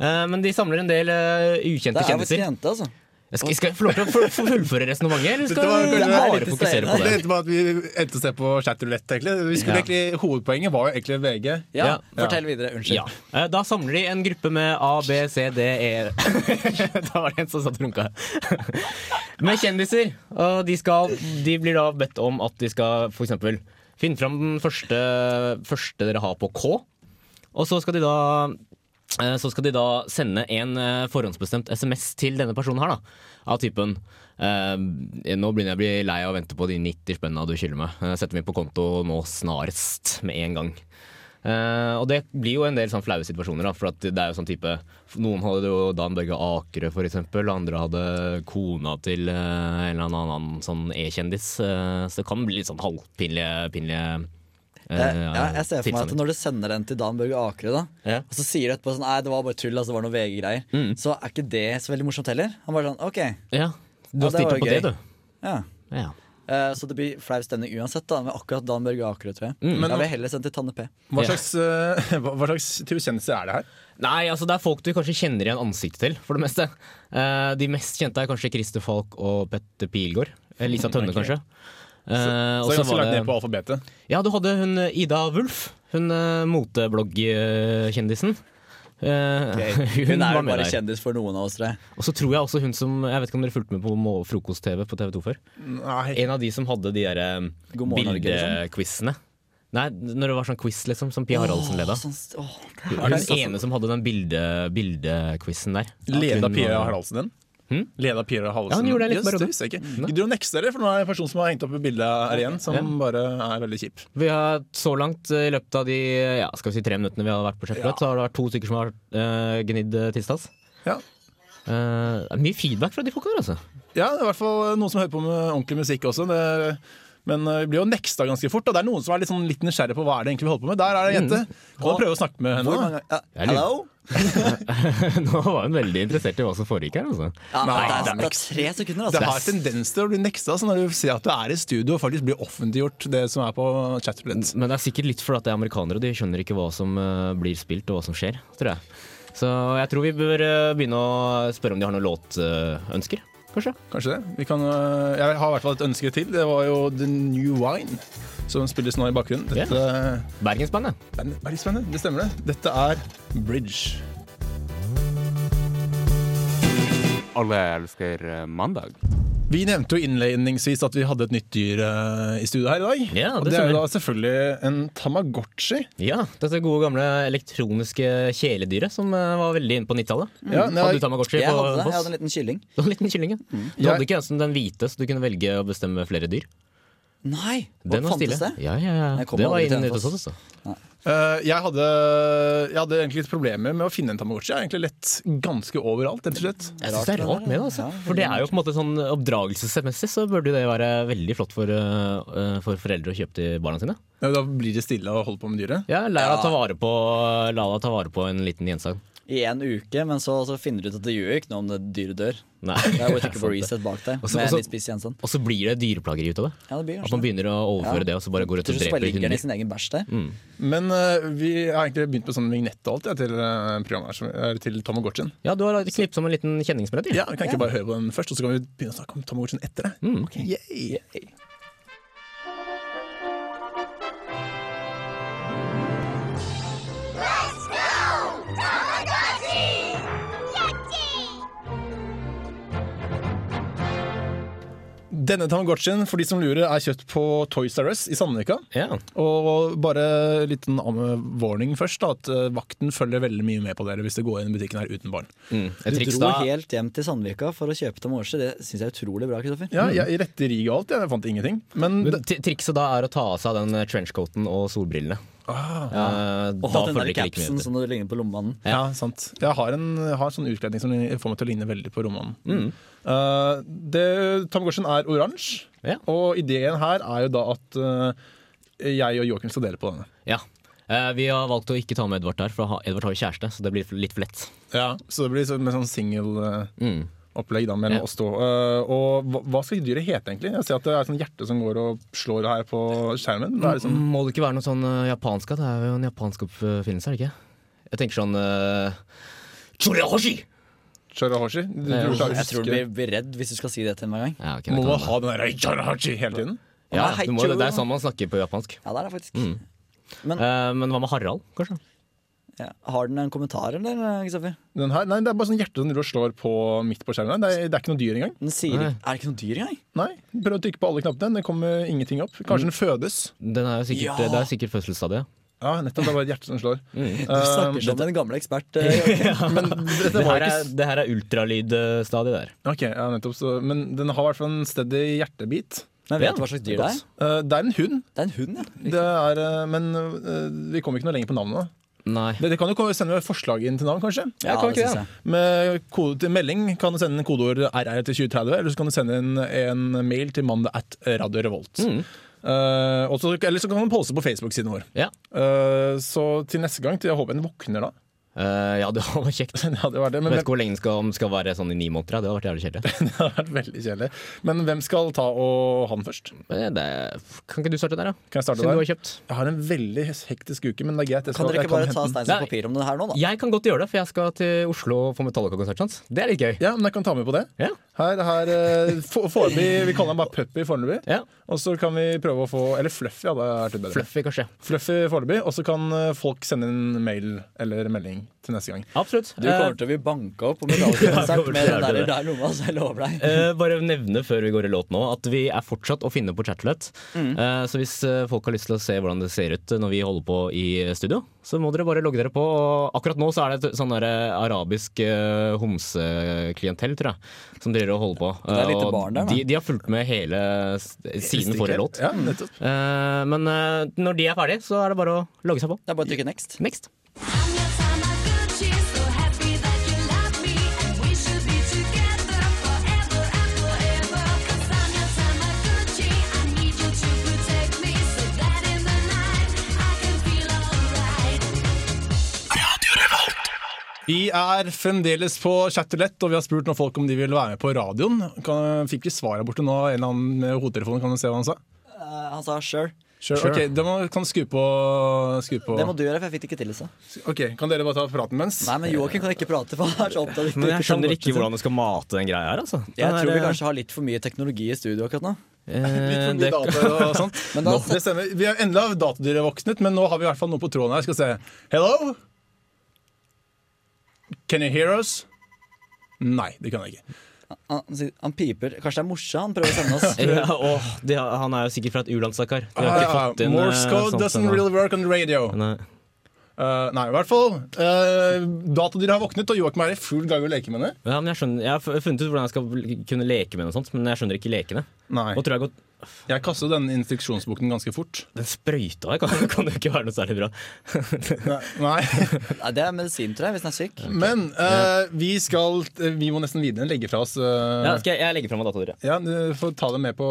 Speaker 3: Eh, men de samler en del eh, ukjente
Speaker 4: Det er faktisk
Speaker 3: kjendiser.
Speaker 4: en jente, altså.
Speaker 3: Jeg skal, skal jeg få lov til å fu- fullføre resonnementet, eller
Speaker 2: Dette
Speaker 3: skal
Speaker 2: var-
Speaker 3: vi
Speaker 2: det er
Speaker 3: bare
Speaker 4: litt
Speaker 3: fokusere på
Speaker 4: distraherende.
Speaker 3: det?
Speaker 2: Det endte bare at vi endte å se på chat roulette, egentlig. Vi skulle
Speaker 3: Ja.
Speaker 2: egentlig. Hovedpoenget var jo egentlig VG.
Speaker 4: Ja,
Speaker 3: Ja.
Speaker 4: Fortell videre. Unnskyld.
Speaker 3: Ja. Eh, Da samler de en gruppe med A, B, C, D, E Da var det en som satt og runka. med kjendiser. Og de, skal, de blir da bedt om at de skal f.eks. finne fram den første, første dere har på K. Og så skal de da eh, så skal de da sende en eh, forhåndsbestemt SMS til denne personen her, da. Av typen eh, Nå begynner jeg å bli lei av å vente på de 90 spenna du skylder meg. Eh, Setter meg på konto nå snarest, med en gang. Eh, og det blir jo en del sånn flaue situasjoner, da, for at det er jo sånn type Noen hadde jo Dan Børge Akerø, for eksempel, og andre hadde kona til eh, en eller annen, annen sånn E-kjendis. Eh, så det kan bli litt sånn halvpinlige pinlige eh,
Speaker 4: Jeg, Eh, ja, jeg ser for meg at når du sender den til Dan Børge Akerø, da,
Speaker 3: Ja.
Speaker 4: og så sier du etterpå sånn Nei, det var bare tull, altså, det var noe VG-greier,
Speaker 3: Mm.
Speaker 4: så er ikke det så veldig morsomt heller. Han bare sånn OK.
Speaker 3: Ja, du
Speaker 4: Ja,
Speaker 3: har
Speaker 4: det var
Speaker 3: stilt
Speaker 4: jo
Speaker 3: opp på det,
Speaker 4: gøy.
Speaker 3: du.
Speaker 4: Ja.
Speaker 3: Ja.
Speaker 4: Eh, Så det blir flau stemning uansett, da, med akkurat Dan Børge Akerø, tror jeg.
Speaker 2: Men-
Speaker 3: Mm.
Speaker 4: jeg vil heller sendt til Tanne P.
Speaker 2: Hva
Speaker 3: Ja.
Speaker 2: slags, eh, hva, hva slags type kjendiser er det her?
Speaker 3: Nei, altså det er folk du kanskje kjenner igjen ansiktet til, for det meste. Eh, de mest kjente er kanskje Christer Falk og Petter Pilgaard. Eh, Lisa Tønne, kanskje. Eh,
Speaker 2: Så
Speaker 3: og
Speaker 2: jeg har
Speaker 3: så
Speaker 2: ganske
Speaker 3: var
Speaker 2: lagt
Speaker 3: det-
Speaker 2: ned på alfabetet.
Speaker 3: Ja, du hadde hun eh, Ida Wulf, hun eh, motebloggkjendisen. Eh,
Speaker 4: Hun er
Speaker 3: var
Speaker 4: jo
Speaker 3: med
Speaker 4: bare
Speaker 3: der.
Speaker 4: kjendis for noen av oss tre.
Speaker 3: Og så tror jeg også hun som Jeg vet ikke om dere fulgte med på mo- frokost-TV på TV2 før.
Speaker 2: Nei.
Speaker 3: En av de som hadde de der eh,
Speaker 4: God morgen, Norge, liksom.
Speaker 3: bildequizene. Nei, når det var sånn quiz, liksom, som Pia Haraldsen leda.
Speaker 4: Åh, sånn st- åh, det
Speaker 3: Hun
Speaker 4: er-
Speaker 3: den ene som hadde den bilde- bildequizen der.
Speaker 2: Leda
Speaker 3: Hun
Speaker 2: Pia
Speaker 3: var-
Speaker 2: Haraldsen den?
Speaker 3: Hm?
Speaker 2: Leda Pia Haraldsen.
Speaker 3: Ja, hun gjorde det
Speaker 2: Jøss,
Speaker 3: litt bare da. Mm.
Speaker 2: det visste jeg ikke. Gidder du å nekte dere, for nå er det en person som har hengt opp i bildet her igjen, som bare er veldig kjip.
Speaker 3: Vi har så langt eh, i løpet av de ja, skal vi si tre minuttene vi har vært på Sjeffeløt, så har det vært to stykker som har uh, gnidd eh, tistas.
Speaker 2: Ja.
Speaker 3: Eh, det er mye feedback fra de folka der, altså.
Speaker 2: Ja, det er i hvert fall noen som hører på med ordentlig musikk også. Det, Men eh, vi blir jo neksta ganske fort, og det er noen som er litt, sånn, litt nysgjerrig på hva er det egentlig vi holder på med. Der er det en
Speaker 3: Mm.
Speaker 2: jente. Kan du prøve å snakke med henne?
Speaker 4: Hvor
Speaker 2: da?
Speaker 4: mange ganger ja,
Speaker 3: lurer.
Speaker 4: Hello?
Speaker 3: Nå var hun veldig interessert i hva som foregikk her, altså.
Speaker 4: Ja,
Speaker 2: Nei,
Speaker 4: det,
Speaker 2: det
Speaker 4: er,
Speaker 2: er
Speaker 4: det er tre sekunder,
Speaker 2: Det
Speaker 4: altså.
Speaker 2: har tendens til å bli neksta så når du ser at du er i studio og faktisk blir offentliggjort det som er på chatroulette.
Speaker 3: Men det er sikkert litt fordi at det er amerikanere, og de skjønner ikke hva som eh, blir spilt og hva som skjer, tror jeg. Så jeg tror vi bør eh, begynne å spørre om de har noen låtønsker, kanskje.
Speaker 2: Kanskje det. Vi kan, øh, jeg har i hvert fall et ønske til. Det var jo The New Wine som spilles nå i bakgrunnen. Dette,
Speaker 3: Bergensbandet.
Speaker 2: det er- er litt spennende. Det stemmer, det. Dette er Bridge.
Speaker 5: Alle elsker eh, mandag.
Speaker 2: Vi nevnte jo innledningsvis at vi hadde et nytt dyr øh, i studio her i dag.
Speaker 3: Ja,
Speaker 2: og
Speaker 3: det
Speaker 2: det er jo
Speaker 3: stemmer.
Speaker 2: da selvfølgelig en Tamagotchi.
Speaker 3: Ja, dette gode gamle elektroniske kjæledyret som eh, var veldig inne på 90-tallet.
Speaker 2: Ja, nei,
Speaker 3: Hadde du Tamagotchi på
Speaker 4: Mm. Jeg hadde det. Jeg
Speaker 3: Voss?
Speaker 4: hadde en liten Mm. kylling.
Speaker 3: Du hadde en liten kylling, ja. Du
Speaker 2: Jeg-
Speaker 3: hadde ikke engang den hvite, så du kunne velge å bestemme flere dyr.
Speaker 4: Nei!
Speaker 3: Den var
Speaker 4: fantes
Speaker 3: stille.
Speaker 4: det?
Speaker 3: Ja, ja, ja.
Speaker 4: Jeg kom
Speaker 3: Det var
Speaker 4: aldri til
Speaker 3: inn
Speaker 4: den
Speaker 3: ute hos
Speaker 4: fast.
Speaker 3: oss, altså.
Speaker 2: Eh, jeg, hadde, jeg hadde egentlig litt problemer med å finne en Tamagotchi. Jeg har egentlig lett ganske overalt, rett og slett.
Speaker 3: Jeg synes det er rart med det, altså. For det er jo på en måte sånn oppdragelsesmessig så burde det være veldig flott for, eh, for foreldre å kjøpe til barna sine.
Speaker 2: Ja, Eh, Da blir det stille og holder på med dyret.
Speaker 3: Ja, lær deg å
Speaker 4: Ja.
Speaker 3: ta vare på, la deg ta vare på en liten gjensag.
Speaker 4: I en uke, men så, så finner du ut at det gjør jo ikke noe om det dyret dør.
Speaker 3: Nei.
Speaker 4: Det er jo å trykke på
Speaker 3: sant det.
Speaker 4: reset bak deg
Speaker 3: Og så-
Speaker 4: med
Speaker 3: og så-
Speaker 4: litt spiss Jensen.
Speaker 3: Og så blir det dyreplageri ut av det.
Speaker 4: Ja, det blir
Speaker 3: At man
Speaker 4: kanskje det.
Speaker 3: begynner å overføre
Speaker 4: Ja.
Speaker 3: det, og så bare går ut
Speaker 4: Tror
Speaker 3: og
Speaker 4: du så bare
Speaker 3: dreper
Speaker 4: ligger den i
Speaker 3: hunder.
Speaker 4: sin egen bæsj der?
Speaker 3: Mm.
Speaker 2: Men eh, vi har egentlig begynt med sånn vignett og alt jeg, til eh, programmet her, som- eller til Tamagotchien.
Speaker 3: Ja, du har knipset som en liten kjenningsbrett.
Speaker 2: Ja, vi kan ikke bare høre på den først, og så kan vi begynne å snakke om Tamagotchien etter det. Yay. Denne Tamagotchien for de som lurer, er kjøpt på Toys R Us i Sandvika.
Speaker 3: Ja.
Speaker 2: Og bare liten warning først, da, at eh, vakten følger veldig mye med på dere hvis det går inn i butikken her uten barn.
Speaker 3: Mm. Et
Speaker 4: Du
Speaker 3: triks
Speaker 4: dro
Speaker 3: da
Speaker 4: helt hjem til Sandvika for å kjøpe Tamagotchi. Det syns jeg er utrolig bra, Kristoffer.
Speaker 2: Ja, jeg retter rig og alt, jeg fant ingenting. Men
Speaker 3: Men t- Trikset da er å ta av seg den eh, trenchcoaten og solbrillene.
Speaker 4: Ah.
Speaker 3: Eh,
Speaker 4: Og
Speaker 3: da
Speaker 4: den
Speaker 3: følger
Speaker 4: der
Speaker 3: det ikke like mye
Speaker 4: capsen
Speaker 3: med.
Speaker 4: som det ligner på lommemannen.
Speaker 2: ja, sant. Jeg har en, jeg har en sånn utkledning som får meg til å ligne veldig på romanen. Eh, det- Tamagotchien er oransje,
Speaker 3: Ja.
Speaker 2: og ideen her er jo da at eh, jeg og Joakim skal dele på denne.
Speaker 3: Ja. Eh, vi har valgt å ikke ta med Edvard der, for ha- Edvard har jo kjæreste, så det blir litt for lett.
Speaker 2: Ja, så det blir sånn- med sånn
Speaker 3: Mm.
Speaker 2: singelopplegg da, mellom
Speaker 3: Ja.
Speaker 2: oss to. Eh, og hva, hva skal dyret hete, egentlig? Jeg ser at det er et sånt hjerte som går og slår her på skjermen. Hva er liksom det som
Speaker 3: Må det ikke være noe sånn eh, japansk? da? Det er jo en japansk oppfinnelse, er det ikke? Jeg tenker sånn eh, Chorihoshi!
Speaker 2: Sharahoshi? Du, du,
Speaker 3: Ja,
Speaker 2: du, klarer å
Speaker 4: Jeg tror du
Speaker 2: huske-
Speaker 4: blir blir redd hvis du skal si det til meg en gang.
Speaker 3: Ja, ok, det
Speaker 2: Må
Speaker 3: kan
Speaker 2: man
Speaker 3: være.
Speaker 2: ha den der Sharahoshi hele tiden?
Speaker 3: ja,
Speaker 4: Nei,
Speaker 3: du må, jo-
Speaker 4: jo.
Speaker 3: det er sånn man snakker på japansk.
Speaker 4: Ja, det er det faktisk.
Speaker 3: Mm. Eh, men hva med Harald, kanskje?
Speaker 4: Ja. Har den en kommentar, eller, Kristoffer?
Speaker 2: Den her? Nei, det er bare sånn hjerte som driver og slår på midt på skjermen. Det er, det er ikke noe dyr engang.
Speaker 4: Den sier
Speaker 3: Nei.
Speaker 4: Er det ikke noe dyr engang?
Speaker 2: Nei, Prøv å trykke på alle knappene. Det kommer ingenting opp.
Speaker 4: Mm.
Speaker 2: Kanskje den fødes.
Speaker 3: Den er jo sikkert,
Speaker 4: Ja.
Speaker 3: Det er sikkert fødselsstadiet.
Speaker 2: Ja, nettopp. Det er bare et hjerte som slår.
Speaker 4: Du snakker som en gamle ekspert. eh,
Speaker 2: Men
Speaker 3: Det
Speaker 2: dette var
Speaker 3: her
Speaker 2: jo
Speaker 3: er,
Speaker 2: ikke
Speaker 3: det her er ultralydstadiet der.
Speaker 2: Ok, ja, nettopp. Så, men den har i hvert fall en steady hjertebit.
Speaker 4: Men vet
Speaker 3: Ja,
Speaker 4: du hva slags
Speaker 3: det
Speaker 4: dyr det
Speaker 3: er
Speaker 4: er?
Speaker 3: godt.
Speaker 2: Eh, Det er en hund,
Speaker 4: Det er en hund, ja.
Speaker 2: det er, eh, men eh, vi kommer ikke noe lenger på navnet.
Speaker 3: Nei.
Speaker 2: Dere kan jo ko- sende forslag inn til navn, kanskje.
Speaker 4: Ja,
Speaker 2: kan
Speaker 4: det
Speaker 2: ikke
Speaker 4: synes jeg.
Speaker 2: Med kode til melding kan du sende en kodeord RR til 2030, eller så kan du sende en, en mail til mandag at Radio Revolt.
Speaker 4: Mm.
Speaker 2: Eh, og så- eller så kan du poste på Facebook-siden vår.
Speaker 3: Ja.
Speaker 2: Eh, så til neste gang, til jeg håper en våkner da.
Speaker 3: Eh, ja, det hadde vært kjekt.
Speaker 2: Det hadde vært det, men
Speaker 3: Vet ikke hvor lenge den skal, om den skal være sånn i ni måneder. ja. Det hadde vært jævlig kjedelig.
Speaker 2: det hadde vært veldig kjedelig. Men hvem skal ta og ha den først?
Speaker 3: Men det, kan ikke du starte der, da?
Speaker 2: Kan jeg starte
Speaker 3: Siden
Speaker 2: der?
Speaker 3: du har kjøpt.
Speaker 2: Jeg har en veldig hektisk uke, men det er greit. Jeg
Speaker 4: Kan
Speaker 2: skal-
Speaker 4: dere
Speaker 2: jeg
Speaker 4: ikke bare
Speaker 2: hente
Speaker 4: ta
Speaker 2: den.
Speaker 4: stein,
Speaker 3: Nei.
Speaker 4: saks, papir om det her nå, da?
Speaker 3: Jeg kan godt gjøre det, for jeg skal til Oslo på Metallica-konsert. hans. Det er litt gøy.
Speaker 2: Ja, men jeg kan ta med på det.
Speaker 3: Ja.
Speaker 2: Her, her eh, for, foreløpig, Vi kaller den bare Puppy foreløpig.
Speaker 3: Ja.
Speaker 2: Og så kan vi prøve å få Eller Fluffy hadde vært litt bedre.
Speaker 3: Fluffy, kanskje.
Speaker 2: Fluffy foreløpig. Og så kan eh, folk sende en mail eller melding til neste gang.
Speaker 3: Absolutt.
Speaker 4: Du kommer til å bli banka opp på medaljekonsert med den der, der lomma, så jeg lover deg.
Speaker 3: Eh, bare nevne før vi går i låt nå at vi er fortsatt å finne på Chatroulette.
Speaker 4: Mm.
Speaker 3: Eh, så hvis eh, folk har lyst til å se hvordan det ser ut eh, når vi holder på i eh, studio, så må dere bare logge dere på. Og akkurat nå så er det et sånn der, eh, arabisk eh, homseklientell, tror jeg, som driver og holder på.
Speaker 4: Det er
Speaker 3: Eh,
Speaker 4: lite
Speaker 3: og
Speaker 4: barn der, da.
Speaker 3: de, de har fulgt med hele s- siden forrige låt.
Speaker 2: Ja, nettopp.
Speaker 3: Eh, men eh, når de er ferdige, så er det bare å logge seg på.
Speaker 4: Det er bare å trykke next.
Speaker 3: Next.
Speaker 10: Forever and forever, cause I'm your Tamagotchi. I need you to be
Speaker 2: Vi er fremdeles på Chatterlett, og vi har spurt noen folk om de vil være med på radioen. Kan, fikk vi svar her borte nå? En eller annen med hodetelefonen, kan du se hva han sa?
Speaker 4: Eh, han sa sure.
Speaker 2: Sure.
Speaker 3: Sure.
Speaker 2: Ok, da må, kan du skru på, skru på.
Speaker 4: Det må du gjøre, for jeg fikk det ikke til. altså. Så.
Speaker 2: Ok, Kan dere bare ta praten mens?
Speaker 4: Nei, men Joakim kan ikke prate, for han er så opptatt av
Speaker 3: Men jeg skjønner ikke hvordan du skal mate den greia her, altså.
Speaker 4: Jeg
Speaker 3: Den
Speaker 4: tror vi
Speaker 3: er,
Speaker 4: kanskje har litt for mye teknologi i studio akkurat nå.
Speaker 3: eh,
Speaker 2: Litt for mye
Speaker 3: det-
Speaker 2: data og sånt.
Speaker 4: Men da-
Speaker 2: Nå, det stemmer. Vi er enda datadyret våknet, men nå har vi i hvert fall noe på tråden her. Skal se. Hello? Can you hear us? Nei, det kan jeg ikke.
Speaker 4: Han, han piper. Kanskje det er morsa han prøver å sende oss.
Speaker 3: Ja, åh, de, har- han er jo sikkert fra et u-land, stakkar. De har ikke
Speaker 2: Ah,
Speaker 3: fått inn, eh,
Speaker 2: Morse code
Speaker 3: sånt
Speaker 2: doesn't
Speaker 3: ennå.
Speaker 2: really work on the radio.
Speaker 3: Nei.
Speaker 2: Eh, nei, i hvert fall. Uh, Datadyret har våknet, og Joakim er i full gang å leke med henne.
Speaker 3: Ja, men jeg, skjønner, jeg har fu- funnet ut hvordan jeg skal kunne leke med den, og sånt, men jeg skjønner ikke lekene.
Speaker 2: Nei.
Speaker 3: Nå tror jeg jeg har gått,
Speaker 2: Jeg kastet denne instruksjonsboken ganske fort.
Speaker 3: Den sprøyta her kan, kan jo ikke være noe særlig bra.
Speaker 2: Nei,
Speaker 4: Nei, det er medisin, tror jeg, hvis han er syk.
Speaker 2: Men eh, vi skal eh, Vi må nesten videre legge fra oss eh,
Speaker 3: Ja, skal jeg, jeg legger fram datadyret.
Speaker 2: Ja, du får ta dem med på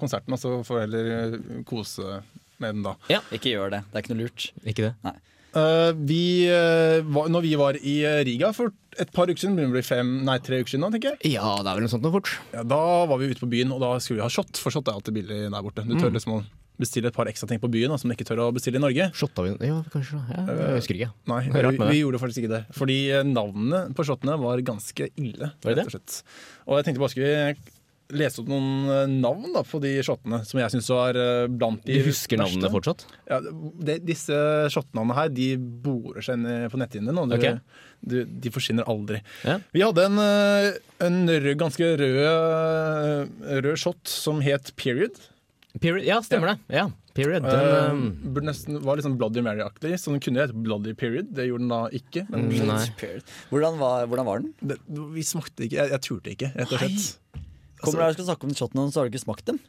Speaker 2: konserten, og så får du heller eh, kose med dem da.
Speaker 4: Ikke gjør det. Det er ikke noe lurt.
Speaker 3: Ikke det?
Speaker 2: Eh, vi, eh, var, når vi var i eh, Riga for et par uker siden, begynner det å bli fem, nei, tre uker siden, da, tenker jeg.
Speaker 3: Ja, det er vel noe sånt noe fort.
Speaker 2: Ja, da var vi ute på byen, og da skulle vi ha shot, for shot er alltid billig der borte. Du tør liksom å bestille et par ekstra ting på byen da, som du ikke tør å bestille i Norge.
Speaker 3: Shotta vi Ja, kanskje. Ja, jeg husker ikke.
Speaker 2: Nei,
Speaker 3: Det er
Speaker 2: vi,
Speaker 3: rart med det.
Speaker 2: vi gjorde faktisk ikke det. Fordi eh, navnene på shotene var ganske ille.
Speaker 3: Var det det?
Speaker 2: rett og slett. Og jeg tenkte bare skulle lese opp noen eh, navn da, på de shotene, som jeg syns var eh, blant
Speaker 3: Du
Speaker 2: de
Speaker 3: husker navnene fortsatt?
Speaker 2: Ja, det, disse shotnavnene her, de borer seg ned på netthinnene. nå. Du,
Speaker 3: Ok.
Speaker 2: du, de forsvinner aldri.
Speaker 3: Ja.
Speaker 2: Vi hadde en, eh, en rød, ganske rød, rød shot som het Period.
Speaker 3: Period. Ja, stemmer det. Ja, period.
Speaker 2: Eh,
Speaker 3: Den, eh,
Speaker 2: burde nesten, var litt sånn Bloody Mary-aktig, så den kunne hett Bloody Period. Det gjorde den da ikke. Men
Speaker 3: Nei.
Speaker 4: Hvordan var, hvordan var den?
Speaker 2: det, vi smakte ikke. Jeg, jeg turte ikke, rett og slett.
Speaker 4: Kommer du her og skal snakke om shotten, og så har du ikke smakt dem?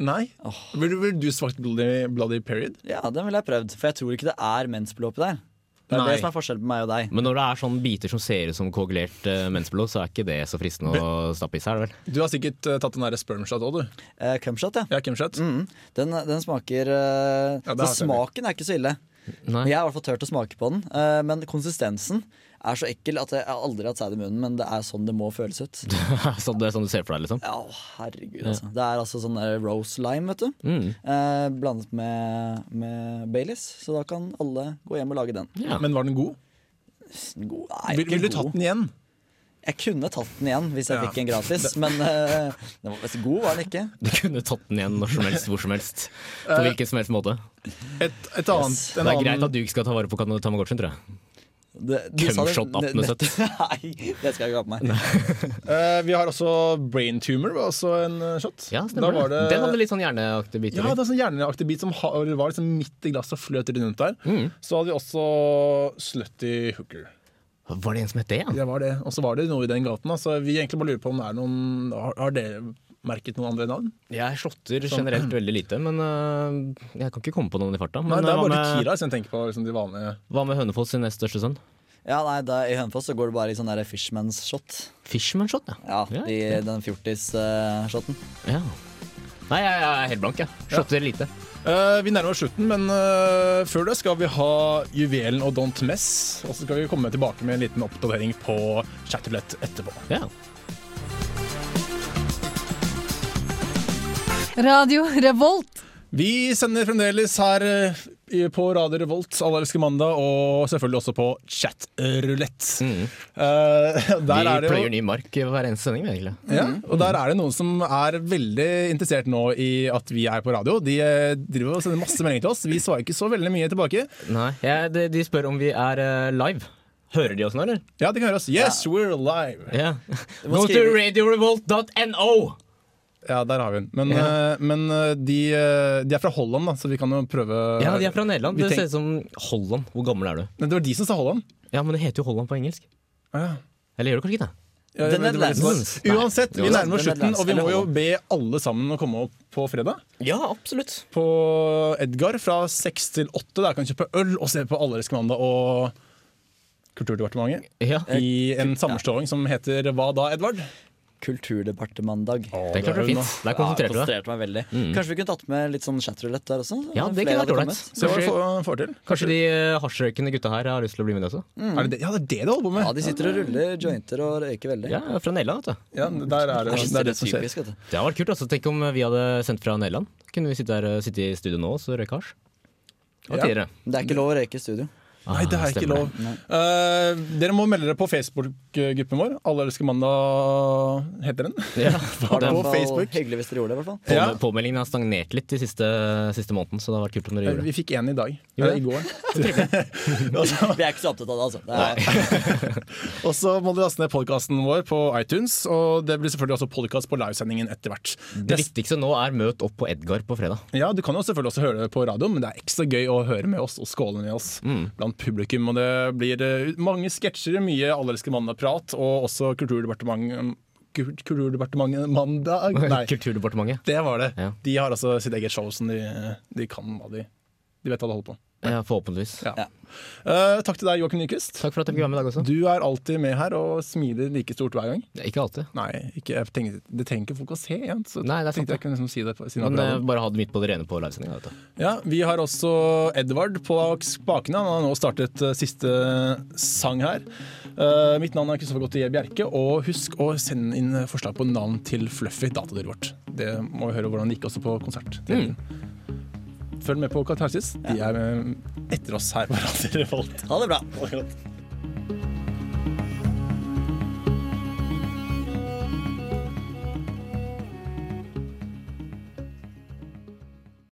Speaker 2: Nei. Ville ville du smakt Bloody, Bloody Period?
Speaker 4: Ja, den ville jeg prøvd, for jeg tror ikke det er mensblod oppi der. Det er
Speaker 2: Nei.
Speaker 4: det som er forskjellen på meg og deg.
Speaker 3: men når det er sånn biter som ser ut som koagulert uh, mensblod, så er ikke det så fristende å stappe i seg, er det vel?
Speaker 2: Du har sikkert eh, tatt den derre spermshot òg, du.
Speaker 4: Eh, Cumshot, ja.
Speaker 2: Ja, Kimshot.
Speaker 4: Mm. Den, den smaker eh,
Speaker 2: Ja, det
Speaker 4: Så
Speaker 2: har jeg
Speaker 4: smaken er ikke så ille.
Speaker 3: Nei.
Speaker 4: Jeg har i hvert fall tørt å smake på den, eh, men konsistensen er så ekkel at jeg har aldri har hatt sæd i munnen, men det er sånn det må føles ut.
Speaker 3: så det er sånn du ser for deg, liksom?
Speaker 4: Ja, å, herregud, altså. Det er altså sånn der rose lime, vet du.
Speaker 3: Mm.
Speaker 4: Eh, blandet med, med Baileys, så da kan alle gå hjem og lage den.
Speaker 3: Ja.
Speaker 2: Men var den god?
Speaker 4: God, nei,
Speaker 2: Vil-
Speaker 4: ikke
Speaker 2: Ville du
Speaker 4: god.
Speaker 2: tatt den igjen?
Speaker 4: Jeg kunne tatt den igjen hvis jeg
Speaker 2: Ja.
Speaker 4: fikk en gratis, men eh, den var, god var den ikke.
Speaker 3: Du kunne tatt den igjen når som helst, hvor som helst. På hvilken som helst måte.
Speaker 2: Et, et annet, Eh,
Speaker 3: Det
Speaker 2: en
Speaker 3: er
Speaker 2: annen-
Speaker 3: greit at du ikke skal ta vare på kan- Tamagotchien, tror jeg.
Speaker 4: Det, du sa det-
Speaker 3: Cumshot
Speaker 4: ne-
Speaker 3: 1870.
Speaker 4: Nei, det skal jeg ikke ha på meg.
Speaker 2: Eh, vi har også brain tumor, var også en eh, shot.
Speaker 3: Ja,
Speaker 2: Da
Speaker 3: stemmer
Speaker 2: var
Speaker 3: det. Den hadde litt sånn hjerneaktig bit.
Speaker 2: ja, det
Speaker 3: eller?
Speaker 2: er en sånn hjerneaktig bit som ha- var liksom midt i glasset og fløt rundt der.
Speaker 3: Mm.
Speaker 2: Så hadde vi også slutty hooker.
Speaker 3: Var det en som het det? Ja?
Speaker 2: Det var det. Og så var det noe i den gaten. da. Så vi egentlig bare lurer på om det er noen Har, har dere merket noen andre navn?
Speaker 3: Jeg shotter
Speaker 2: Sånn.
Speaker 3: generelt veldig lite, men øh, jeg kan ikke komme på noen i farta. Men
Speaker 2: Nei, det
Speaker 3: øh,
Speaker 2: er
Speaker 3: hva
Speaker 2: bare
Speaker 3: med,
Speaker 2: Kira som jeg tenker på. Liksom de vanlige
Speaker 3: hva med Hønefoss sin nest største sønn?
Speaker 4: Ja, nei, da, I Hønefoss så går det bare i sånn der Fishman's shot.
Speaker 3: Fishman Shot,
Speaker 4: Ja,
Speaker 3: Ja,
Speaker 4: i den eh, fjortis-shoten.
Speaker 3: Ja. Nei, jeg, jeg er helt blank, jeg. Shotter lite.
Speaker 2: Eh, vi nærmer oss slutten, men eh, før det skal vi ha Juvelen og Don't Mess. Og så skal vi komme tilbake med en liten oppdatering på Chatterlett etterpå.
Speaker 3: Ja.
Speaker 10: Radio Revolt.
Speaker 2: Vi sender fremdeles her eh, i- på Radio Revolt, Alle elsker mandag, og selvfølgelig også på Chatrulett.
Speaker 3: Mm.
Speaker 2: Eh,
Speaker 3: Vi
Speaker 2: der er det jo
Speaker 3: pløyer ny Mm. mark i hver eneste sending, vi, egentlig.
Speaker 2: ja, og der er det noen som er veldig interessert nå i at vi er på radio. De eh, driver og sender masse meldinger til oss. Vi svarer ikke så veldig mye tilbake.
Speaker 3: Nei, jeg, de, de spør om vi er eh, live. Hører de oss nå, eller?
Speaker 2: Ja, de kan høre oss. Yes, we're alive!
Speaker 3: Ja.
Speaker 4: må
Speaker 3: Go to
Speaker 4: skrive-
Speaker 3: radiorevolt.no!
Speaker 2: Ja, der har vi den. Men,
Speaker 3: Ja.
Speaker 2: eh, men eh, de, eh, de er fra Holland, da, så vi kan jo prøve
Speaker 3: Ja, de er fra Nederland.
Speaker 2: Vi
Speaker 3: Det
Speaker 2: tenk-
Speaker 3: ser ut som Holland. Hvor gammel er du?
Speaker 2: Nei, Det var de som sa Holland.
Speaker 3: Ja, men det heter jo Holland på engelsk.
Speaker 2: Ja.
Speaker 3: Eller gjør det kanskje ikke det?
Speaker 2: Ja,
Speaker 4: The
Speaker 2: men det var de som sa-
Speaker 4: Netherlands.
Speaker 3: Nei.
Speaker 2: Uansett, vi
Speaker 3: Jo,
Speaker 2: nærmer oss
Speaker 4: The
Speaker 2: slutten,
Speaker 4: Netherlands,
Speaker 2: og vi må
Speaker 4: eller
Speaker 2: jo
Speaker 4: Holland.
Speaker 2: be alle sammen å komme opp på fredag.
Speaker 3: Ja, absolutt.
Speaker 2: På Edgar fra seks til åtte. Der kan du kjøpe øl og se på Alle elsker mandag og Kulturdepartementet.
Speaker 3: Ja.
Speaker 2: I en sammenslåing som heter Hva da, Edvard?
Speaker 4: Kulturdepartementet.
Speaker 2: det er hun, da.
Speaker 3: Der konsentrerte du deg.
Speaker 4: konsentrerte meg veldig.
Speaker 3: Mm.
Speaker 4: Kanskje vi kunne tatt med litt sånn chatroulette der også?
Speaker 3: Ja, det
Speaker 4: Flere
Speaker 3: kunne vært
Speaker 4: hadde
Speaker 3: ålreit.
Speaker 4: kommet.
Speaker 2: Se hva vi
Speaker 3: Kanskje,
Speaker 2: får, får til.
Speaker 3: kanskje de eh, hasjrøykende gutta her har lyst til å bli med det også?
Speaker 2: Er det det? Ja, det er det de holder på med!
Speaker 4: Ja, de sitter og ruller jointer og røyker veldig.
Speaker 3: Ja, fra Nederland, vet du.
Speaker 2: Ja, der er det,
Speaker 4: Jeg synes
Speaker 2: det, er det som skjer.
Speaker 4: typisk, vet du.
Speaker 3: Det hadde vært kult. altså. Tenk om vi hadde sendt fra Nederland. Kunne vi sitte, her, eh, sitte i studio nå og så røyke hasj? Det var
Speaker 2: Ja.
Speaker 3: tidligere.
Speaker 4: Men Det er ikke lov å røyke i studio.
Speaker 2: Nei, det er ikke
Speaker 3: Ah, stemmer
Speaker 2: lov. Eh, dere må melde dere på Facebook-gruppen vår. Alle elsker mandag, heter den.
Speaker 3: Ja,
Speaker 2: Har
Speaker 3: den-
Speaker 2: du-
Speaker 4: I hvert fall
Speaker 2: Facebook.
Speaker 4: Hyggelig hvis dere gjorde det, i hvert fall.
Speaker 3: Påme-
Speaker 2: Ja.
Speaker 3: Påmeldingen har stagnert litt de siste, siste måneden, så det hadde vært kult om dere gjorde det.
Speaker 2: Eh, Vi fikk én i dag.
Speaker 3: Gjorde
Speaker 2: Eh, I
Speaker 3: det?
Speaker 2: går.
Speaker 4: Vi er ikke så opptatt av det, altså. Det er,
Speaker 2: Og så må dere laste ned podkasten vår på iTunes, og det blir selvfølgelig også podkast på livesendingen etter hvert.
Speaker 3: Det viktigste nå er møt opp på Edgar på fredag.
Speaker 2: Ja, Du kan jo selvfølgelig også høre det på radioen, men det er ekstra gøy å høre med oss og skåle med oss
Speaker 3: Mm.
Speaker 2: blant publikum. Og det blir eh, mange sketsjer, mye Allelske mandag-prat, og også Kulturdepartementet Kult- Kulturdepartementet Mandag? Nei,
Speaker 3: Kulturdepartementet.
Speaker 2: det var det.
Speaker 3: Ja.
Speaker 2: De har altså sitt eget show som de, de kan hva de De vet hva de holder på med.
Speaker 3: Ja, forhåpentligvis.
Speaker 2: Ja. Eh, takk til deg, Joakim Nyquist.
Speaker 3: Takk for at jeg fikk være med i dag også.
Speaker 2: Du er alltid med her og smiler like stort hver gang.
Speaker 3: Ikke alltid.
Speaker 2: Nei, ikke, jeg tenkte, det trenger ikke folk å se igjen. Så
Speaker 3: Nei, det er sant,
Speaker 2: tenkte jeg kunne liksom si det på siden av
Speaker 3: Men eh,
Speaker 2: programmet.
Speaker 3: bare ha det midt på det rene på livesendinga. vet du.
Speaker 2: Ja, Vi har også Edvard på spakene. Han har nå startet eh, siste sang her. Eh, mitt navn er Kristoffer Gottlieb Bjerke, og husk å sende inn eh, forslag på navn til Fluffy, datadyret vårt. Det må vi høre hvordan det gikk også på konsert.
Speaker 4: Mm.
Speaker 2: Følg med på Katarsis. De er eh, etter oss her på Radio Revolt.
Speaker 4: ha det bra.
Speaker 2: Ha det godt.